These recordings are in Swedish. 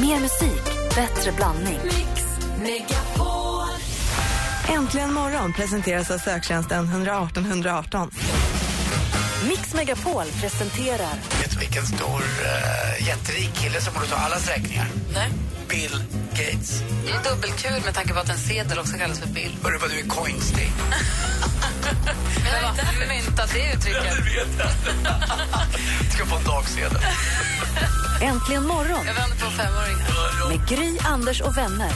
Mer musik, bättre blandning. Mix Megapol. Äntligen morgon presenteras av söktjänsten 118 118. Mix Megapol presenterar... Vet du vilken stor uh, jätterik kille som borde ta allas räkningar? Nej. Bill Gates. Det är dubbelkul med tanke på att en sedel också kallas för bill. Hörru vad du är coinstig. Men jag har inte myntat det uttrycket. du vet jag. Ska få en dagsedel. Äntligen morgon Jag vänder på en femåring här. med Gry, Anders och vänner.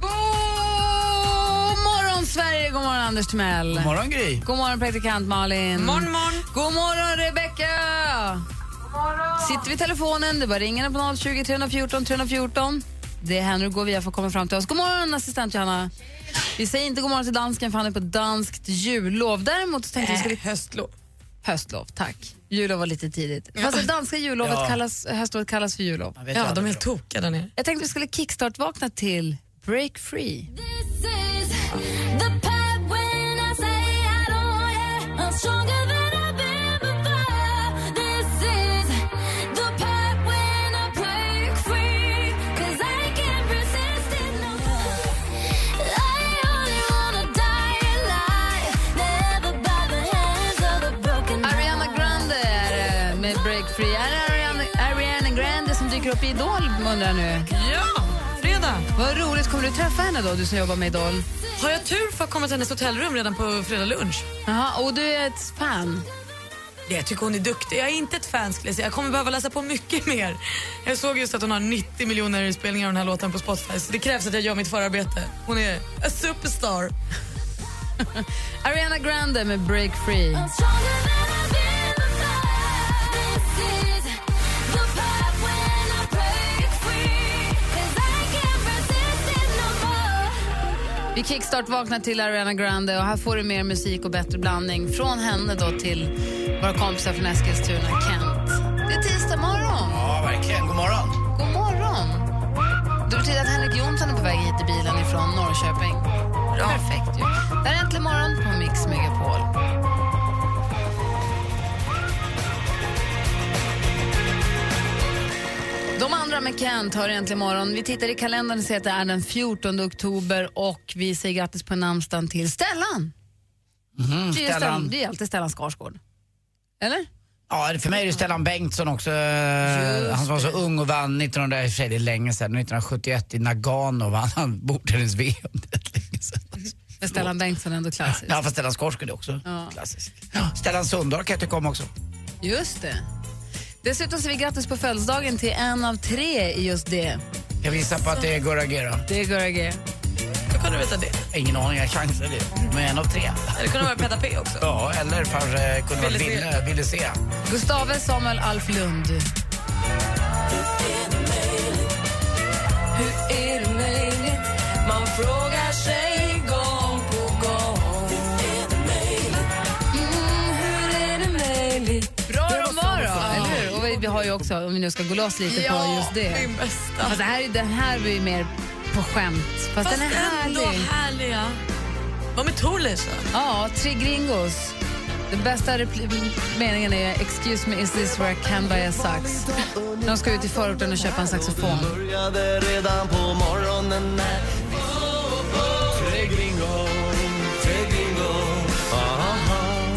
God morgon, Sverige! God morgon, Anders Timell. God Morgon Gry. God morgon, praktikant Malin. Morgon, morgon. God morgon, Rebecka. Sitter vid telefonen, det bara ringer på 020 314 314. Det är här nu går via för att komma fram till oss. God morgon, assistent Johanna. Vi säger inte god morgon till dansken för han är på danskt jullov. Däremot så Äh. tänkte vi skulle... höstlov. Höstlov, tack. Jullov var lite tidigt. Fast det danska jullovet Ja. kallas, höstlovet kallas för jullov. Jag vet Ja, jag de är aldrig. helt tokiga där nere. Jag tänkte vi skulle kickstart-vakna till Break Free. Ariana Grande är det med Break Free. Är det Ariana, Ariana Grande som dyker upp i Idol undrar jag nu? Ja, fredag. Vad roligt, kommer du träffa henne då, du som jobbar med Idol? Har jag tur får jag komma till hennes hotellrum redan på fredag lunch. Jaha, och du är ett fan. Jag tycker hon är duktig. Jag är inte ett fan skulle jag säga. Jag kommer behöva läsa på mycket mer. Jag såg just att hon har 90 miljoner inspelningar av den här låten på Spotify. Så det krävs att jag gör mitt förarbete. Hon är a superstar. Ariana Grande med Break Free. Vi kickstart vaknar till Ariana Grande och här får du mer musik och bättre blandning från henne då till våra kompisar från Eskilstuna, Kent. Det är tisdag morgon. Ja, verkligen. God morgon. God morgon. Det betyder att Henrik Jonsson är på väg hit i bilen ifrån Norrköping. Perfekt ju. Det här är Äntligen morgon på Mix Megapol. De andra med Kent har äntligen morgon. Vi tittar i kalendern och ser att det är den 14 oktober och vi säger grattis på namnsdagen till Stellan. det, är ju Stellan. Stellan. det är alltid Stellan Skarsgård. Eller? Ja, för mig är det Stellan Bengtsson också. Just han som var så ung och vann 1900, i och för sig, det är länge sedan, 1971 i Nagano vann han bordtennis-VM. Det är länge sedan. Men Stellan Bengtsson är ändå klassisk. Ja, fast Stellan Skarsgård är också Ja. klassiskt. Ja, Stellan Sundahl kan jag tycka om också. Just det. Dessutom säger vi grattis på födelsedagen till en av tre i just det. Jag gissar på att det är Gurra Gera. Det är Gurra G. Hur kunde du veta det? Ingen aning, jag chansar det. Men en av tre. Det kunde vara Peda P också. Ja, eller kanske kunde vara Ville se. Ville, ville se. Gustave Samuel Alf Lund. Hur är det möjligt? Man frågar sig gång på gång. Mm, hur är det möjligt? Bra de var då, eller hur? Och vi- vi har ju också, om vi nu ska gå loss lite på just det. min bästa. Fast det här, är- den här blir ju mer på skämt. Fast, den är ändå härlig. härlig. ja. Vad med Thorleifs då? Ja, Tre Gringos. Den bästa repli- meningen är “Excuse me, is this where I can buy a sax?” När de ska ut i förorten och köpa en saxofon. började redan på morgonen när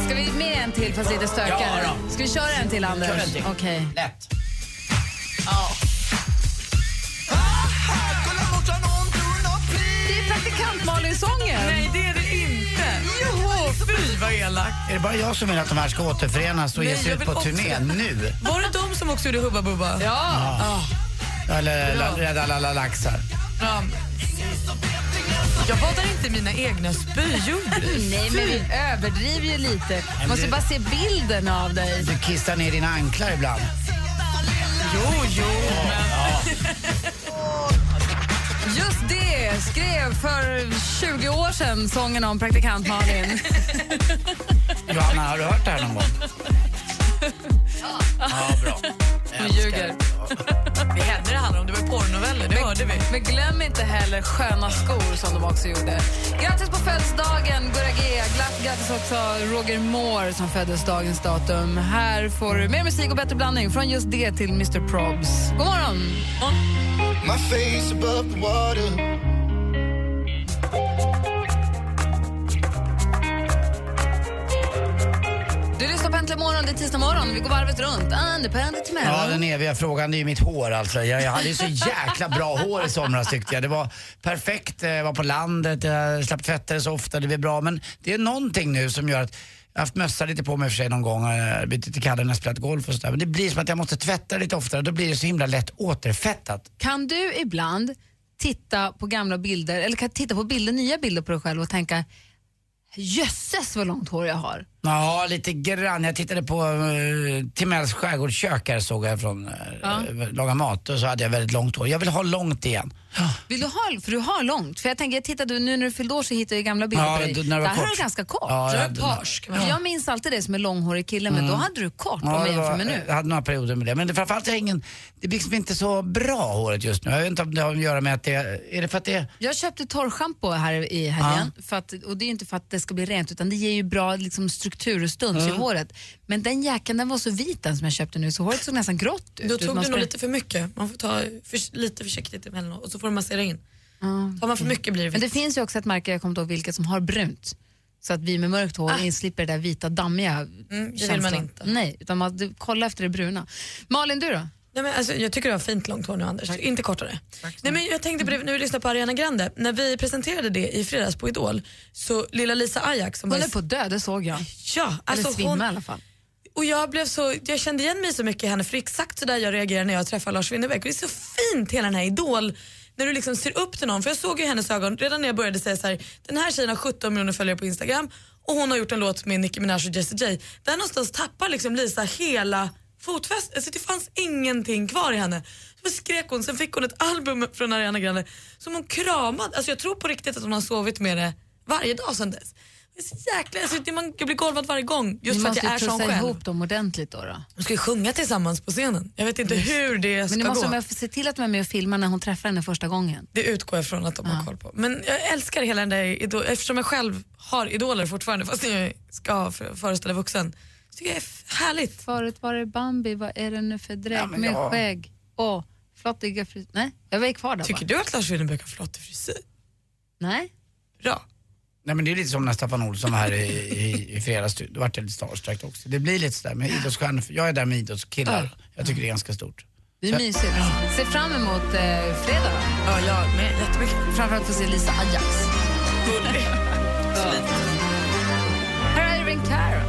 Ska vi med en till fast lite stökigare? Ja, Ska vi köra en till, Anders? Kör en till. Okej. Lätt. Det är praktikant Malin-sången! Nej, det är det inte. Jo, fy vad elakt. Är det bara jag som menar att de här ska återförenas och Nej, ge sig jag ut vill på också- turné nu? Var det de som också gjorde Hubba Bubba? Ja. Eller la- Rädda alla laxar? Jag badar inte i mina egna spyor. Nej, men vi överdriver ju lite. Måste bara se bilden av dig. Du kissar ner dina anklar ibland. Jo, jo. Just det skrev för 20 år sedan sången om praktikant Malin. Johanna, har du hört det här någon gång? Ja, bra. Hon ljuger. Det är henne det handlar om. Det var ju porrnoveller, det hörde gjorde vi. Men glöm inte heller sköna skor som de också gjorde. Grattis på födelsedagen, Gurra G. Glatt grattis också Roger Moore som föddes dagens datum. Här får du mer musik och bättre blandning från just det till Mr Probs. God morgon! My face above the water Du lyssnar på Äntligen morgon, det är tisdag morgon. Vi går varvet runt. Independent Ja, mellan. den eviga frågan, det är ju mitt hår alltså. Jag, jag hade ju så jäkla bra hår i somras tyckte jag. Det var perfekt, eh, jag var på landet, jag slapp tvätta det så ofta, det blev bra. Men det är någonting nu som gör att jag har haft mössa lite på mig i och för sig någon gång, eh, bytt lite kalla när jag spelat golf och sådär. Men det blir som att jag måste tvätta det lite oftare, då blir det så himla lätt återfettat. Kan du ibland titta på gamla bilder, eller kan titta på bilder, nya bilder på dig själv och tänka jösses vad långt hår jag har? Ja, lite grann. Jag tittade på uh, Timells skärgårdskök här såg jag från eh, Ja. Laga Mat och så hade jag väldigt långt hår. Jag vill ha långt igen. Vill du ha, för du har långt. För jag tänker, jag tittade, nu när du fyllde år så hittade jag gamla bilder Ja, på dig. då- när det Där var har kort. du ganska kort. Ja, Du har jag- ett pars. Jag minns alltid dig som en långhårig kille, men då hade du kort om jag det var- jämför med nu. jag hade några perioder med det. Men det, framförallt är ingen, det blir liksom inte så bra håret just nu. Jag vet inte om det har att göra med att det, är det för att det Jag köpte torrschampo här i helgen, för att, och det är inte för att det ska bli rent utan det ger ju bra liksom, struktur och stuns Mm. i håret. Men den jackan den var så vit den som jag köpte nu så håret såg nästan grått ut. Då tog Man du nog spray- lite för mycket. Man får ta för, lite försiktigt emellanåt och så får du massera in. Tar man för mycket blir det Men det vitt. finns ju också ett märke, jag kommer inte ihåg vilket, som har brunt. Så att vi med mörkt hår slipper det där vita dammiga Ah. Mm, vill känslan. man inte. Nej, utan man du, kolla efter det bruna. Malin, du då? Nej, men alltså, jag tycker du har fint långt hår nu Anders, inte kortare. Nej, men jag tänkte på det när vi lyssnade på Ariana Grande, när vi presenterade det i fredags på Idol, så lilla Lisa Ajax som Hon var är i- på att dö, det såg jag. Ja, Eller alltså svimma hon, i alla fall. och jag, blev så, jag kände igen mig så mycket i henne för exakt så där jag reagerar när jag träffar Lars Winnerbäck. Och det är så fint hela den här Idol, när du liksom ser upp till någon. För jag såg ju i hennes ögon redan när jag började säga så här, den här tjejen har 17 miljoner följare på Instagram och hon har gjort en låt med Nicki Minaj och Jessie J. Där någonstans tappar liksom Lisa hela fotfästet. Alltså det fanns ingenting kvar i henne. Så skrek hon, sen fick hon ett album från Ariana Grande som hon kramade. Alltså jag tror på riktigt att hon har sovit med det varje dag sedan dess. Det är så jäkla, alltså det man, jag blir golvad varje gång just Ni för att jag måste är sån tussa själv. ihop dem ordentligt då. då. De ska ju sjunga tillsammans på scenen. Jag vet inte hur det ska Men ni måste gå. med, se till att de är med och filmar när hon träffar henne första gången. Det utgår jag från att de har koll på. Men jag älskar hela den där idol, eftersom jag själv har idoler fortfarande fast jag ska ha för- föreställa vuxen. Så tycker jag det är f- härligt. Förut var det Bambi, vad är det nu för dräkt Ja, men med jag- skägg och flottiga frisyrer? Nej, jag var ju kvar där Tycker bara. du att Lars Winnerbäck har flottig frisyr? Nej. Bra. Nej men det är lite som när Staffan Olsson var här i, i, i fredags, då vart jag lite starstruck också. Det blir lite sådär med idrottsstjärnor, jag är där med idrottskillar. Jag tycker det är ganska stort. Det är mysigt. Se fram emot eh, fredag då. Ja, jag med jättemycket. Framförallt få se Lisa Ajax. Ja. Här är Irene Cara.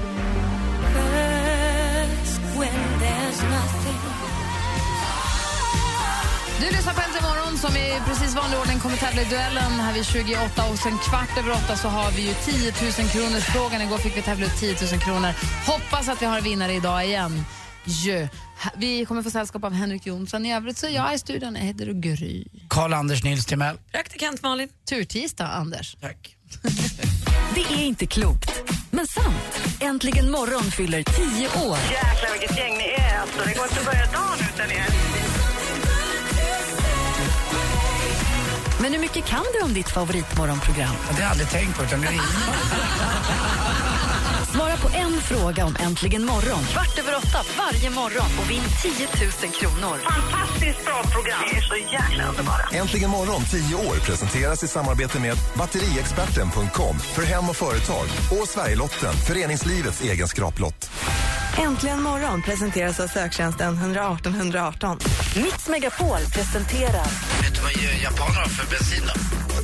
Du lyssnar på Äntligen morgon som i precis vanlig ordning kommer tävla i duellen här vid 28 och sen kvart över åtta så har vi ju 10 000 kronors frågan. Igår fick vi tävla ut 10 000 kronor. Hoppas att vi har en vinnare idag igen. Jö. Vi kommer få sällskap av Henrik Jonsson. I övrigt så är jag i studion. Jag heter Gry. Karl-Anders Nils Timell. Praktikant Malin. Turtisdag, Anders. Tack. Det är inte klokt, men sant. Äntligen morgon fyller tio år. Jäklar vilket gäng ni är alltså. Det går inte att börja dagen utan er. Men hur mycket kan du om ditt favoritmorgonprogram? Det har jag aldrig tänkt på utan det ringer. Svara på en fråga om Äntligen morgon kvart över åtta varje morgon och vinn 10 000 kronor. Fantastiskt bra program. Ni är så jäkla underbara. Äntligen morgon 10 år presenteras i samarbete med batteriexperten.com för hem och företag och Sverigelotten, föreningslivets egen skraplott. Äntligen morgon presenteras av söktjänsten 118 118. Mix Megapol presenterar Vet du vad japaner har för bensin då?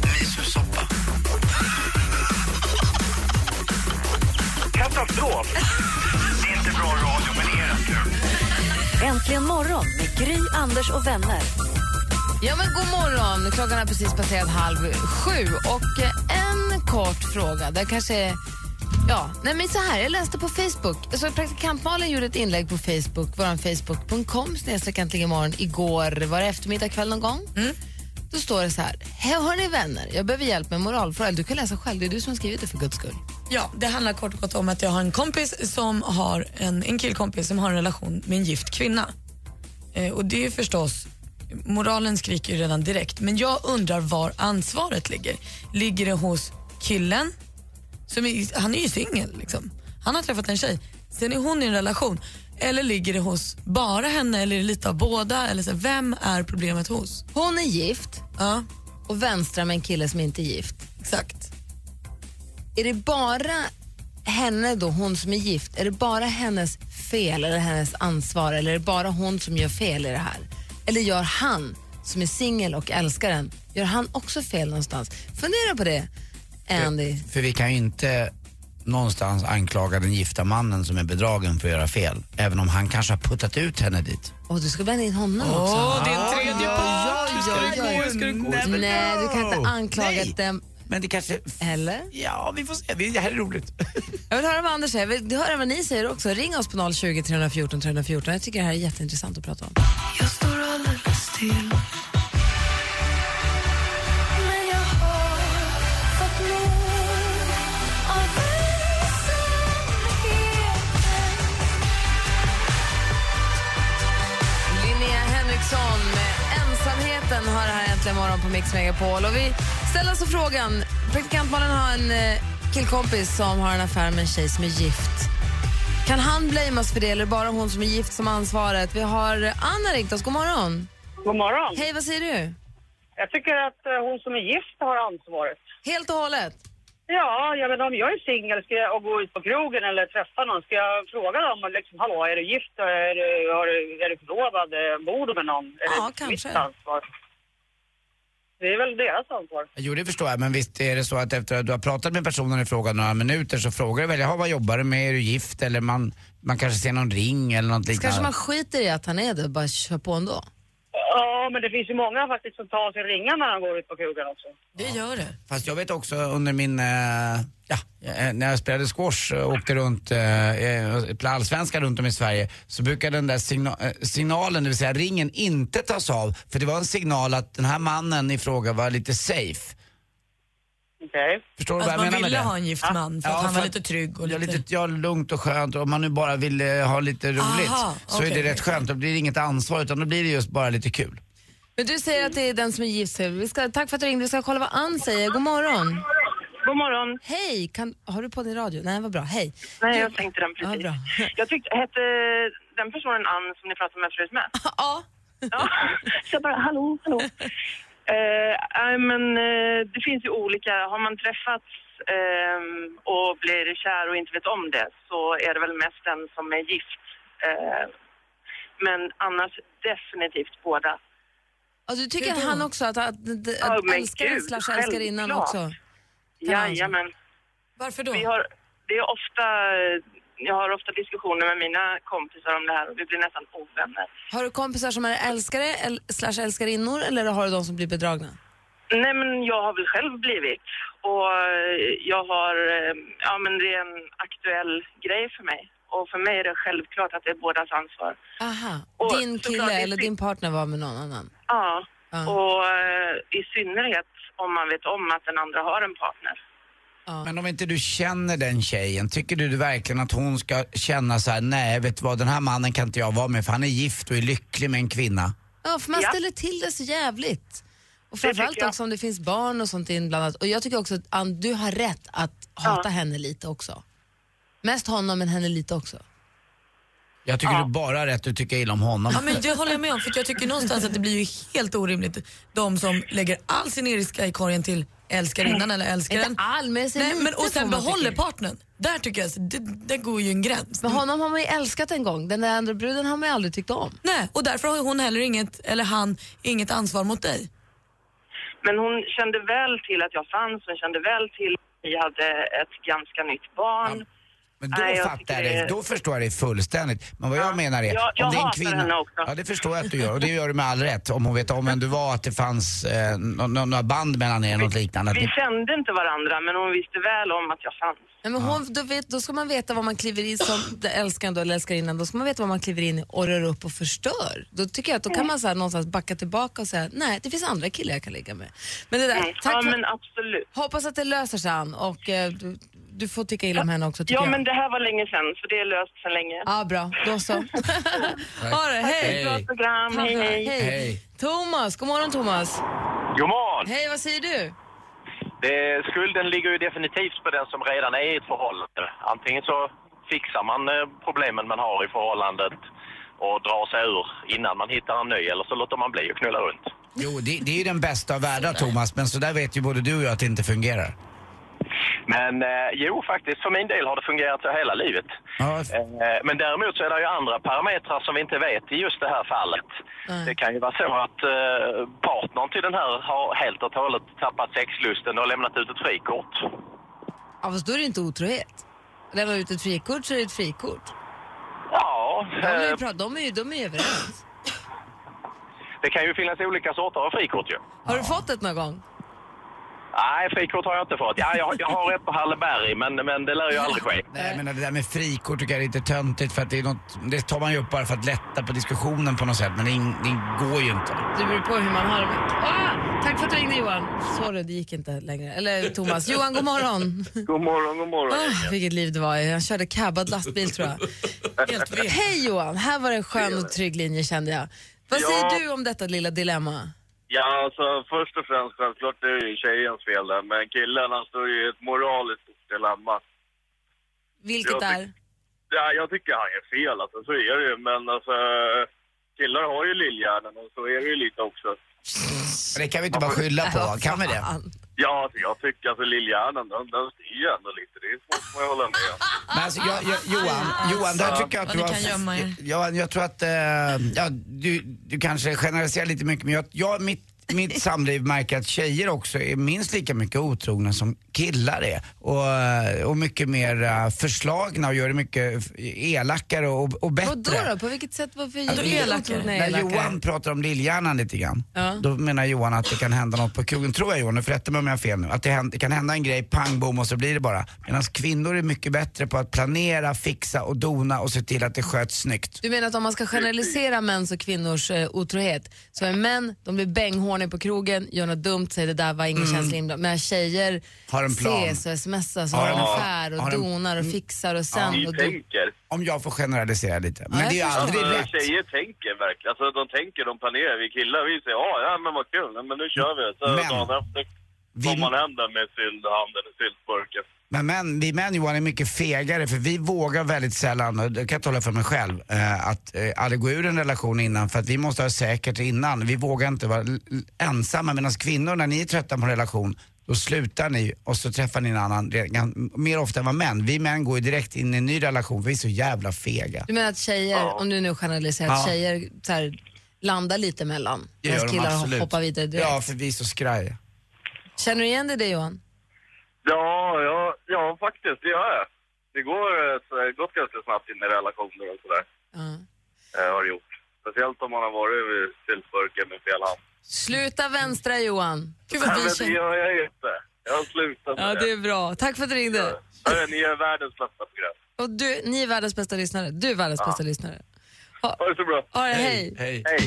Miso-soppa. Katastrof. Det är inte bra radio, men det är det. Äntligen morgon med Gry, Anders och vänner. Ja, men god morgon. Klockan är precis passerat halv sju. Och eh, en kort fråga. Det kanske är... Ja, nej men så här, jag läste på Facebook. Alltså, praktikantmalen gjorde ett inlägg på Facebook, våran Facebook.com snedstreck äntligen imorgon igår, var det eftermiddag kväll någon gång? Då står det så här, "Hej, hörni vänner, jag behöver hjälp med moralfrågor. Du kan läsa själv, det är du som har skrivit det för guds skull. Ja, det handlar kort och gott om att jag har en kompis som har en, en killkompis som har en relation med en gift kvinna. Eh, och det är ju förstås moralen skriker ju redan direkt. Men jag undrar var ansvaret ligger. Ligger det hos killen? Som är, han är ju singel. Liksom. Han har träffat en tjej. Sen är hon i en relation. Eller ligger det hos bara henne eller är det lite av båda? Eller så, här, vem är problemet hos? Hon är gift Ja, och vänstrar med en kille som inte är gift. exakt. Är det bara henne då, hon som är gift, är det bara hennes fel eller hennes ansvar eller är det bara hon som gör fel i det här? Eller gör han som är singel och älskar den, gör han också fel någonstans? Fundera på det, Andy. För vi kan ju inte någonstans anklaga den gifta mannen som är bedragen för att göra fel. Även om han kanske har puttat ut henne dit. Och du ska blanda in honom också. Och det är en tredje part. Hur ska det ja, gå? ja. Hur ska det gå? Hur ska det- Nej, eh, du kan inte anklaga Nej. dem. Men det kanske... Eller? Ja, vi får se. Det det här är roligt. Jag vill höra vad Anders säger. Jag vill höra vad ni säger också. Ring oss på 020 314 314. Jag tycker det här är jätteintressant att prata om. Linnea Henriksson med Ensamheten har det här äntligen morgon på Mix Megapol. Och vi ställer oss frågan, praktikantmannen har en eh, killkompis som har en affär med en tjej som är gift. Kan han blamas för det eller är det bara hon som är gift som har ansvaret? Vi har Anna ringt oss, god morgon. God morgon. Hej, vad säger du? Jag tycker att eh, hon som är gift har ansvaret. Helt och hållet? Ja, jag menar om jag är singel ska jag, och går ut på krogen eller träffar någon, ska jag fråga dem liksom, hallå, är du gift? Är du, har du, är du förlovad? Eh, Bor du med någon? Är Ja, det kanske. mitt ansvar? Det är väl deras ansvar. Jo, det förstår jag. Men visst är det så att efter att du har pratat med personen i fråga några minuter så frågar du väl, "Jaha, vad jobbar du med? Är du gift? Eller man, man kanske ser någon ring eller något liknande. Kanske man skiter i att han är det och bara kör på ändå. Ja, men det finns ju många faktiskt som tar sin ringar när de går ut på krogen också. Det gör det. Fast jag vet också under min, eh, ja, eh, när jag spelade squash och åkte runt, eh, eh, på allsvenskan runt om i Sverige, så brukade den där signa- eh, signalen, det vill säga ringen, inte tas av. För det var en signal att den här mannen i fråga var lite safe. Okej. Förstår du Att vad jag Alltså, menar man med ville det? ha en gift man för Ja, att han för var att- lite trygg och Ja, lite... lite ja, lugnt och skönt. Om man nu bara vill eh, ha lite roligt Aha, så är okej. det rätt skönt. Då blir det inget ansvar utan då blir det just bara lite kul. Men du säger att det är den som är gift. så Vi ska, tack för att du ringde. Vi ska kolla vad Ann säger. God morgon. God morgon. Hej, kan, har du på din radio? Nej, vad bra. Hej. Nej, Du- jag tänkte den Ja, precis. bra. jag tyckte, hette den personen Ann som ni pratade med förut med? Ja. Ja. Så jag bara, hallå, hallå. Eh, nej, men eh, det finns ju olika. Har man träffats ehm, och blir kär och inte vet om det så är det väl mest den som är gift. Eh, men annars definitivt båda. Och Alltså, du tycker han också att, att, att Ja, men älskaren gud, slash älskarinnan självklart. också? Jajamän. Varför då? Vi har, det är ofta, jag har ofta diskussioner med mina kompisar om det här och vi blir nästan ovänner. Har du kompisar som är älskare el- slash älskarinnor eller har du de som blir bedragna? Nej, men jag har väl själv blivit. Och eh, jag har... eh, Ja, men det är en aktuell grej för mig. Och för mig är det självklart att det är bådas ansvar. Aha. Och din såklart, kille det är eller fint. din partner var med någon annan? Ja, Ja. och eh, i synnerhet om man vet om att den andra har en partner. Ja. Men om inte du känner den tjejen, tycker du verkligen att hon ska känna så här: nej vet du vad den här mannen kan inte jag vara med för han är gift och är lycklig med en kvinna. ja, för man Ja. ställer till det så jävligt. Och framförallt tycker jag. också om det finns barn och sånt inblandat. Och jag tycker också att Ann, du har rätt att hata henne lite också. Mest honom men henne lite också. Jag tycker du bara har rätt att tycka illa om honom. Ja, men det håller jag med om, för jag tycker någonstans att det blir ju helt orimligt. De som lägger all sin ilska i korgen till älskarinnan eller älskaren. Inte all, men jag säger Nej, men, lite och sen får man behåller tycka. partnern. Där tycker jag, så det, där går ju en gräns. Men honom har man ju älskat en gång. Den där andra bruden har man ju aldrig tyckt om. Nej, och därför har hon heller inget, eller han, inget ansvar mot dig. Men hon kände väl till att jag fanns. Hon kände väl till att vi hade ett ganska nytt barn. Men då Nej, jag fattar jag tycker dig, det- då förstår jag dig fullständigt. Men vad jag menar är, Jag- jag om det är en hatar kvinna... henne också. Ja, det förstår jag att du gör. Och det gör du med all rätt. Om hon vet om vem du var, att det fanns eh, nå- nå- några band mellan er, något liknande. Att Vi ni... kände inte varandra, men hon visste väl om att jag fanns. Nej, men hon, då, vet, då ska man veta vad man kliver in som det älskaren då, eller älskarinnan. Då ska man veta vad man kliver in i och rör upp och förstör. Då tycker jag att då kan man så här någonstans backa tillbaka och säga nej, det finns andra killar jag kan ligga med. Men det där, Mm. tack Ja, för, men absolut. Hoppas att det löser sig Ann och eh, du, du får tycka illa om henne också. tycker Ja, jag. men det här var länge sedan, så det är löst sedan länge. Ja, bra. Då så. ha det, hej. Bra Hej. program, hej, hej. Hej. Thomas, god morgon Thomas. God morgon! Hej, vad säger du? Det, skulden ligger ju definitivt på den som redan är i ett förhållande. Antingen så fixar man eh, problemen man har i förhållandet och drar sig ur innan man hittar en ny eller så låter man bli och knulla runt. Jo, det, det är ju den bästa av världar Thomas, men så där vet ju både du och jag att det inte fungerar. Men eh, jo, faktiskt för min del har det fungerat så hela livet. Ja, f- Eh, Men däremot så är det ju andra parametrar som vi inte vet i just det här fallet. Det kan ju vara så att eh, partnern till den här har helt och hållet tappat sexlusten och lämnat ut ett frikort. Ja, fast då är det inte otrohet. Lämnar du ut ett frikort så är det ett frikort. Ja, De är ju, eh, pra- de är ju, de är ju överens. det kan ju finnas olika sorter av frikort ju. Har du fått ett någon gång? Nej, frikort har jag inte fått. Ja, jag, jag har ett på Halleberg, men, men det lär ju aldrig ske. Nej, men det där med frikort tycker jag är lite töntigt för att det är något, det tar man ju upp bara för att lätta på diskussionen på något sätt, men det, in- det går ju inte. Det beror på hur man har det. Ah, tack för att du ringde Johan. Sorry, det gick inte längre. Eller Thomas. Johan, god morgon. God morgon, god morgon. Ah, vilket liv det var. Jag körde cabbad lastbil tror jag. Helt vilt. Hej Johan, här var det en skön och trygg linje kände jag. Vad Ja. säger du om detta lilla dilemma? Ja, alltså först och främst självklart är det ju tjejens fel där, men killen han står ju i ett moraliskt dilemma. Vilket Jag tyck- är? Ja, jag tycker han är fel alltså, så är det ju, men alltså killar har ju lillhjärnan och så är det ju lite också. Men det kan vi inte bara skylla på, kan vi det? Ja, alltså, jag tycker alltså lillhjärnan den, den styr ju ändå lite, det är svårt får jag hålla med om. Men alltså, jag, jag, Johan, Johan, där tycker jag att Vad du ni har... kan gömma er. Johan, jag tror att eh, ja, du, du kanske generaliserar lite mycket, men jag, jag mitt, mitt samliv märker att tjejer också är minst lika mycket otrogna som killar är. Och, eh, och mycket mer eh, förslagna och gör det mycket elakare och, och bättre. Vadå då? På vilket sätt? Varför Alltså, är elakare. otrogna När elakare? Johan pratar om lillhjärnan lite grann, Ja. då menar Johan att det kan hända något på krogen, tror jag Johan, nu får rätta mig om jag har fel nu, att det, hän- det kan hända en grej, pang bom och så blir det bara. Medan kvinnor är mycket bättre på att planera, fixa och dona och se till att det sköts snyggt. Du menar att om man ska generalisera mäns och kvinnors eh, otrohet så är män, de blir bänghårning på krogen, gör något dumt, säger det där var ingen känsla inblandad. Medan tjejer Mm. Har en plan. ses och smsas och Ja. har en affär och Har en- Mm. donar och fixar och sen och du. tänker. Om jag får generalisera lite. Men jag det är förstår. aldrig Alltså, rätt. Tjejer tänker verkligen. Alltså, de tänker, de planerar. Vi killar, vi säger ja, ja men vad kul, Ja, men nu kör vi. Så dagen Men- efter Vi- kommer man hem där med sylthanden och syltburken. Men män, vi män Johan är mycket fegare för vi vågar väldigt sällan, och det kan jag tala för mig själv, eh, att eh, aldrig gå ur en relation innan för att vi måste ha säkert innan. Vi vågar inte vara l- l- ensamma medan kvinnor när ni är trötta på en relation då slutar ni och så träffar ni en annan redan, mer ofta än vad män. Vi män går ju direkt in i en ny relation för vi är så jävla fega. Du menar att tjejer, om du nu generaliserar, att Ja. tjejer så här, landar lite mellan? Det gör Medan de killar absolut. hoppar vidare direkt. Ja, för vi är så skraja. Känner du igen dig i det Johan? Ja, ja, ja, faktiskt, det gör jag. Det går eh, så- gått ganska snabbt in i relationer och sådär. Ja. Eh, har det gjort. Speciellt om man har varit vid syltburken med fel hand. Sluta vänstra Johan. Gud Nej, vad vi men det känner. gör jag ju inte. Jag har slutat med Ja, det är bra. Tack för att du ringde. Hörru, ni är världens bästa program. Och du, ni är världens bästa lyssnare. Du är världens bästa lyssnare. Ha det så bra. Ha det, hej. Hej. Hej.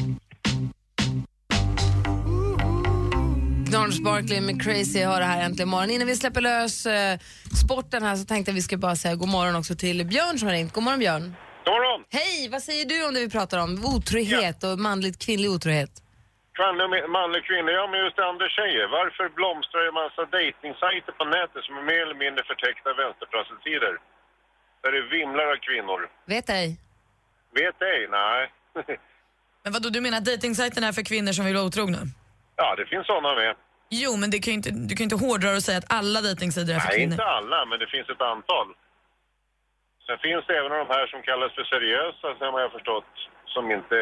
Gnarls Barkley med Crazy har det här äntligen morgon. Innan vi släpper lös eh, sporten här så tänkte jag vi skulle bara säga god morgon också till Björn som har ringt. God morgon Björn. God morgon! Hej, vad säger du om det vi pratar om? Otrohet och manligt kvinnlig otrohet. Kvinnlig, manlig kvinna, ja men just det andra tjejer. Varför blomstrar det massa dejtingsajter på nätet som är mer eller mindre förtäckta vänsterprostituerade? Där det vimlar av kvinnor. Vet ej. Vet ej, nej. Men vadå, du menar att dejtingsajten är för kvinnor som vill vara otrogna? ja, det finns sådana med. Jo, men det kan ju inte, du kan ju inte hårdra och säga att alla dejtingsidor är för Nej, kvinnor. inte alla, men det finns ett antal. Sen finns det även de här som kallas för seriösa, sen har jag förstått, som inte...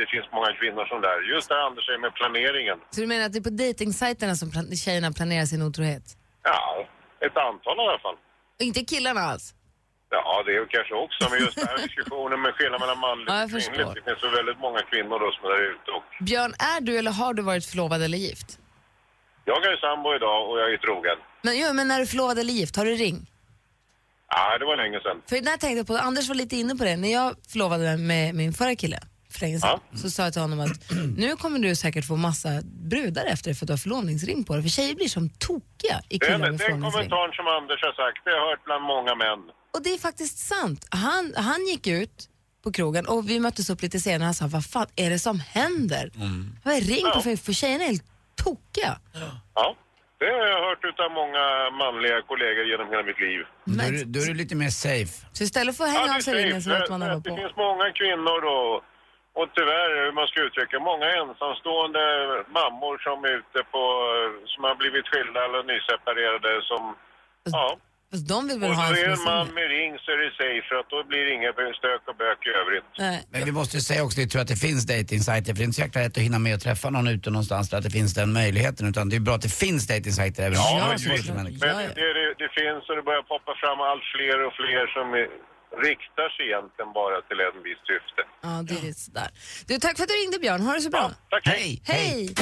Det finns många kvinnor som där. Just det här Anders säger med planeringen. Så du menar att det är på dejtingsajterna som plan- tjejerna planerar sin otrohet? Ja, ett antal i alla fall. Och inte killarna alls? Ja, det är kanske också, men just den här diskussionen med skillnad mellan manligt Ja, jag och kvinnligt. förstår. Det finns så väldigt många kvinnor då som är där ute och... Björn, är du eller har du varit förlovad eller gift? Jag är ju sambo idag och jag är trogen. Men, jo, men när du förlovade eller gift, har du ring? Nej, det var länge sedan. För när jag tänkte på, Anders var lite inne på det, när jag förlovade mig med min förra kille, för länge sedan. Så sa jag till honom att nu kommer du säkert få massa brudar efter dig för att du har förlovningsring på dig. För tjejer blir som tokiga i Den, killar med den förlovningsring. kommentaren som Anders har sagt, det har jag hört bland många män. Och det är faktiskt sant. Han, han gick ut på krogen och vi möttes upp lite senare och han sa, vad fan är det som händer? Mm. Han bara, ring Ja. på för, för tjejerna är helt tokiga. Ja, det har jag hört utav många manliga kollegor genom hela mitt liv. Då är, du- då är du lite mer safe. Så istället för att hänga av sig ringen så låter man den vara Det på. finns många kvinnor då, och tyvärr hur man ska uttrycka många ensamstående mammor som är ute på, som har blivit skilda eller nyseparerade som, ja. Fast de vill väl Och ha så en är som är en man singel. med ring så är det safe för att då blir det inget stök och bök i övrigt. Nej. Men vi måste ju säga också, det är tur att det finns dejtingsajter för det är inte så jäkla lätt att hinna med att träffa någon ute någonstans där att det finns den möjligheten. Utan det är bra att det finns dejtingsajter även om det är svårt för men människor. det, det, det finns och det börjar poppa fram allt fler och fler som är, riktar sig egentligen bara till en viss syfte. Ja, det är lite sådär. Du, tack för att du ringde Björn, ha det så bra. Hej! Hej!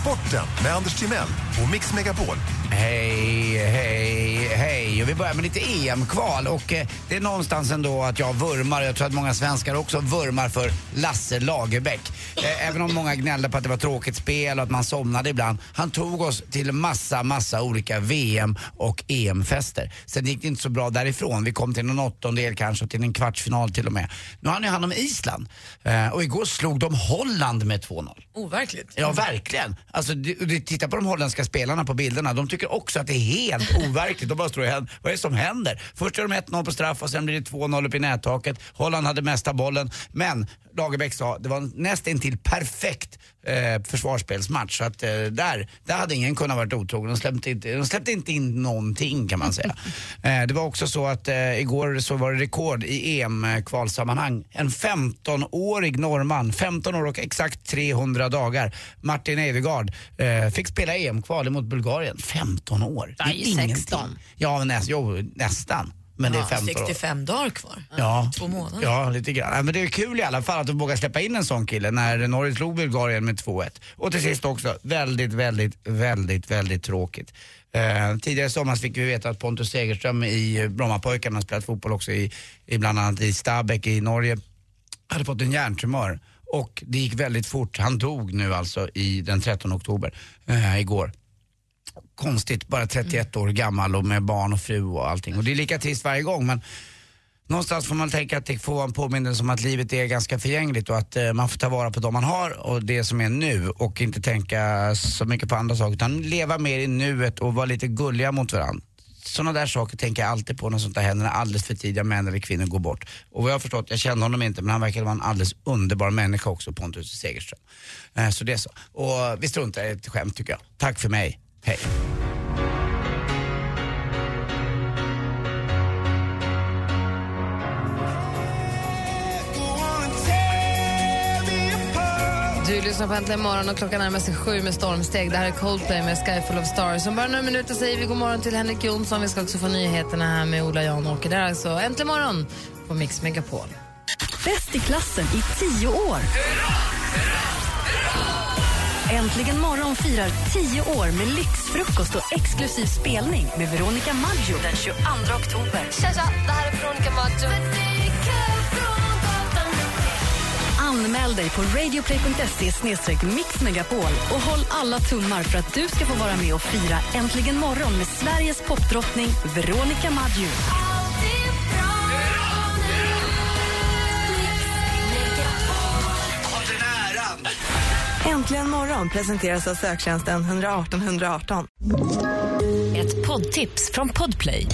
Sporten med Anders Timell och Mix Megapol. Hej, hej, hej. Och vi börjar med lite EM-kval och eh, det är någonstans ändå att jag vurmar, och jag tror att många svenskar också vurmar för Lasse Lagerbäck. Eh, även om många gnällde på att det var tråkigt spel och att man somnade ibland. Han tog oss till massa, massa olika VM och EM-fester. Sen gick det inte så bra därifrån. Vi kom till någon åttondel kanske, och till en kvartsfinal till och med. Nu har han ju hand om Island eh, och igår slog de Holland med 2-0. Overkligt. Ja, verkligen. Alltså, du, du, titta på de holländska spelarna på bilderna. De tycker också att det är helt overkligt. De bara står och händer. Vad är det som händer? Först gör de 1-0 på straff och sen blir det 2-0 upp i nättaket. Holland hade mesta bollen. Men Lagerbäck sa det var en nästintill perfekt eh, försvarsspelsmatch. Så att eh, där, där hade ingen kunnat varit otrogen. De släppte inte, de släppte inte in någonting kan man säga. eh, det var också så att eh, igår så var det rekord i EM-kvalsammanhang. En 15-årig norrman, 15 år och exakt 300 dagar, Martin Edegaard, eh, fick spela EM-kval mot Bulgarien. 15 år. Det är Nej, 16. Ja, men näs, jo, nästan. Men det är 15 år. 65 dagar kvar. Ja. Två månader. Ja, lite grann. Nej, Men det är kul i alla fall att de vågar släppa in en sån kille när Norge slog Bulgarien med 2-1. Och till sist också, väldigt, väldigt, väldigt, väldigt tråkigt. Eh, tidigare i somras fick vi veta att Pontus Segerström i eh, Brommapojkarna, har spelat fotboll också i, i bland annat i Stabäck i Norge, hade fått en hjärntumör. Och det gick väldigt fort. Han dog nu alltså i den 13 oktober, eh, igår konstigt, bara 31 år gammal och med barn och fru och allting. Och det är lika trist varje gång men någonstans får man tänka att det får vara en påminnelse om att livet är ganska förgängligt och att eh, man får ta vara på de man har och det som är nu och inte tänka så mycket på andra saker utan leva mer i nuet och vara lite gulliga mot varandra. Sådana där saker tänker jag alltid på när sånt där händer, när alldeles för tidiga män eller kvinnor går bort. Och vad jag har förstått, jag kände honom inte, men han verkade vara en alldeles underbar människa också, Pontus Segerström. Eh, Så det är så. Och vi struntar i ett skämt tycker jag. Tack för mig, hej. Du lyssnar på Äntligen morgon och klockan närmar sig sju med stormsteg. Det här är Coldplay med Sky Full of Stars. Om bara några minuter säger vi god morgon till Henrik Jonsson. Vi ska också få nyheterna här med Ola Janåker. Det här är alltså Äntligen morgon på Mix Megapol. Bäst i klassen i tio år. Äntligen morgon firar tio år med lyxfrukost och exklusiv spelning med Veronica Maggio den 22 oktober. Tja, tja, det här är Veronica Maggio. Anmäl dig på radioplay.se mixmegapol och håll alla tummar för att du ska få vara med och fira Äntligen morgon med Sveriges popdrottning Veronica Maggio. Äntligen morgon presenteras av söktjänsten 118 118. Ett poddtips från Podplay.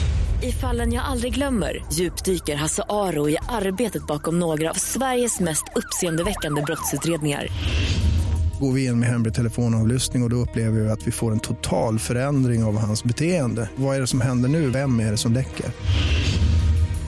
I fallen jag aldrig glömmer djupdyker Hasse Aro i arbetet bakom några av Sveriges mest uppseendeväckande brottsutredningar. Går vi in med hemlig telefonavlyssning och, och då upplever vi att vi får en total förändring av hans beteende. Vad är det som händer nu? Vem är det som läcker?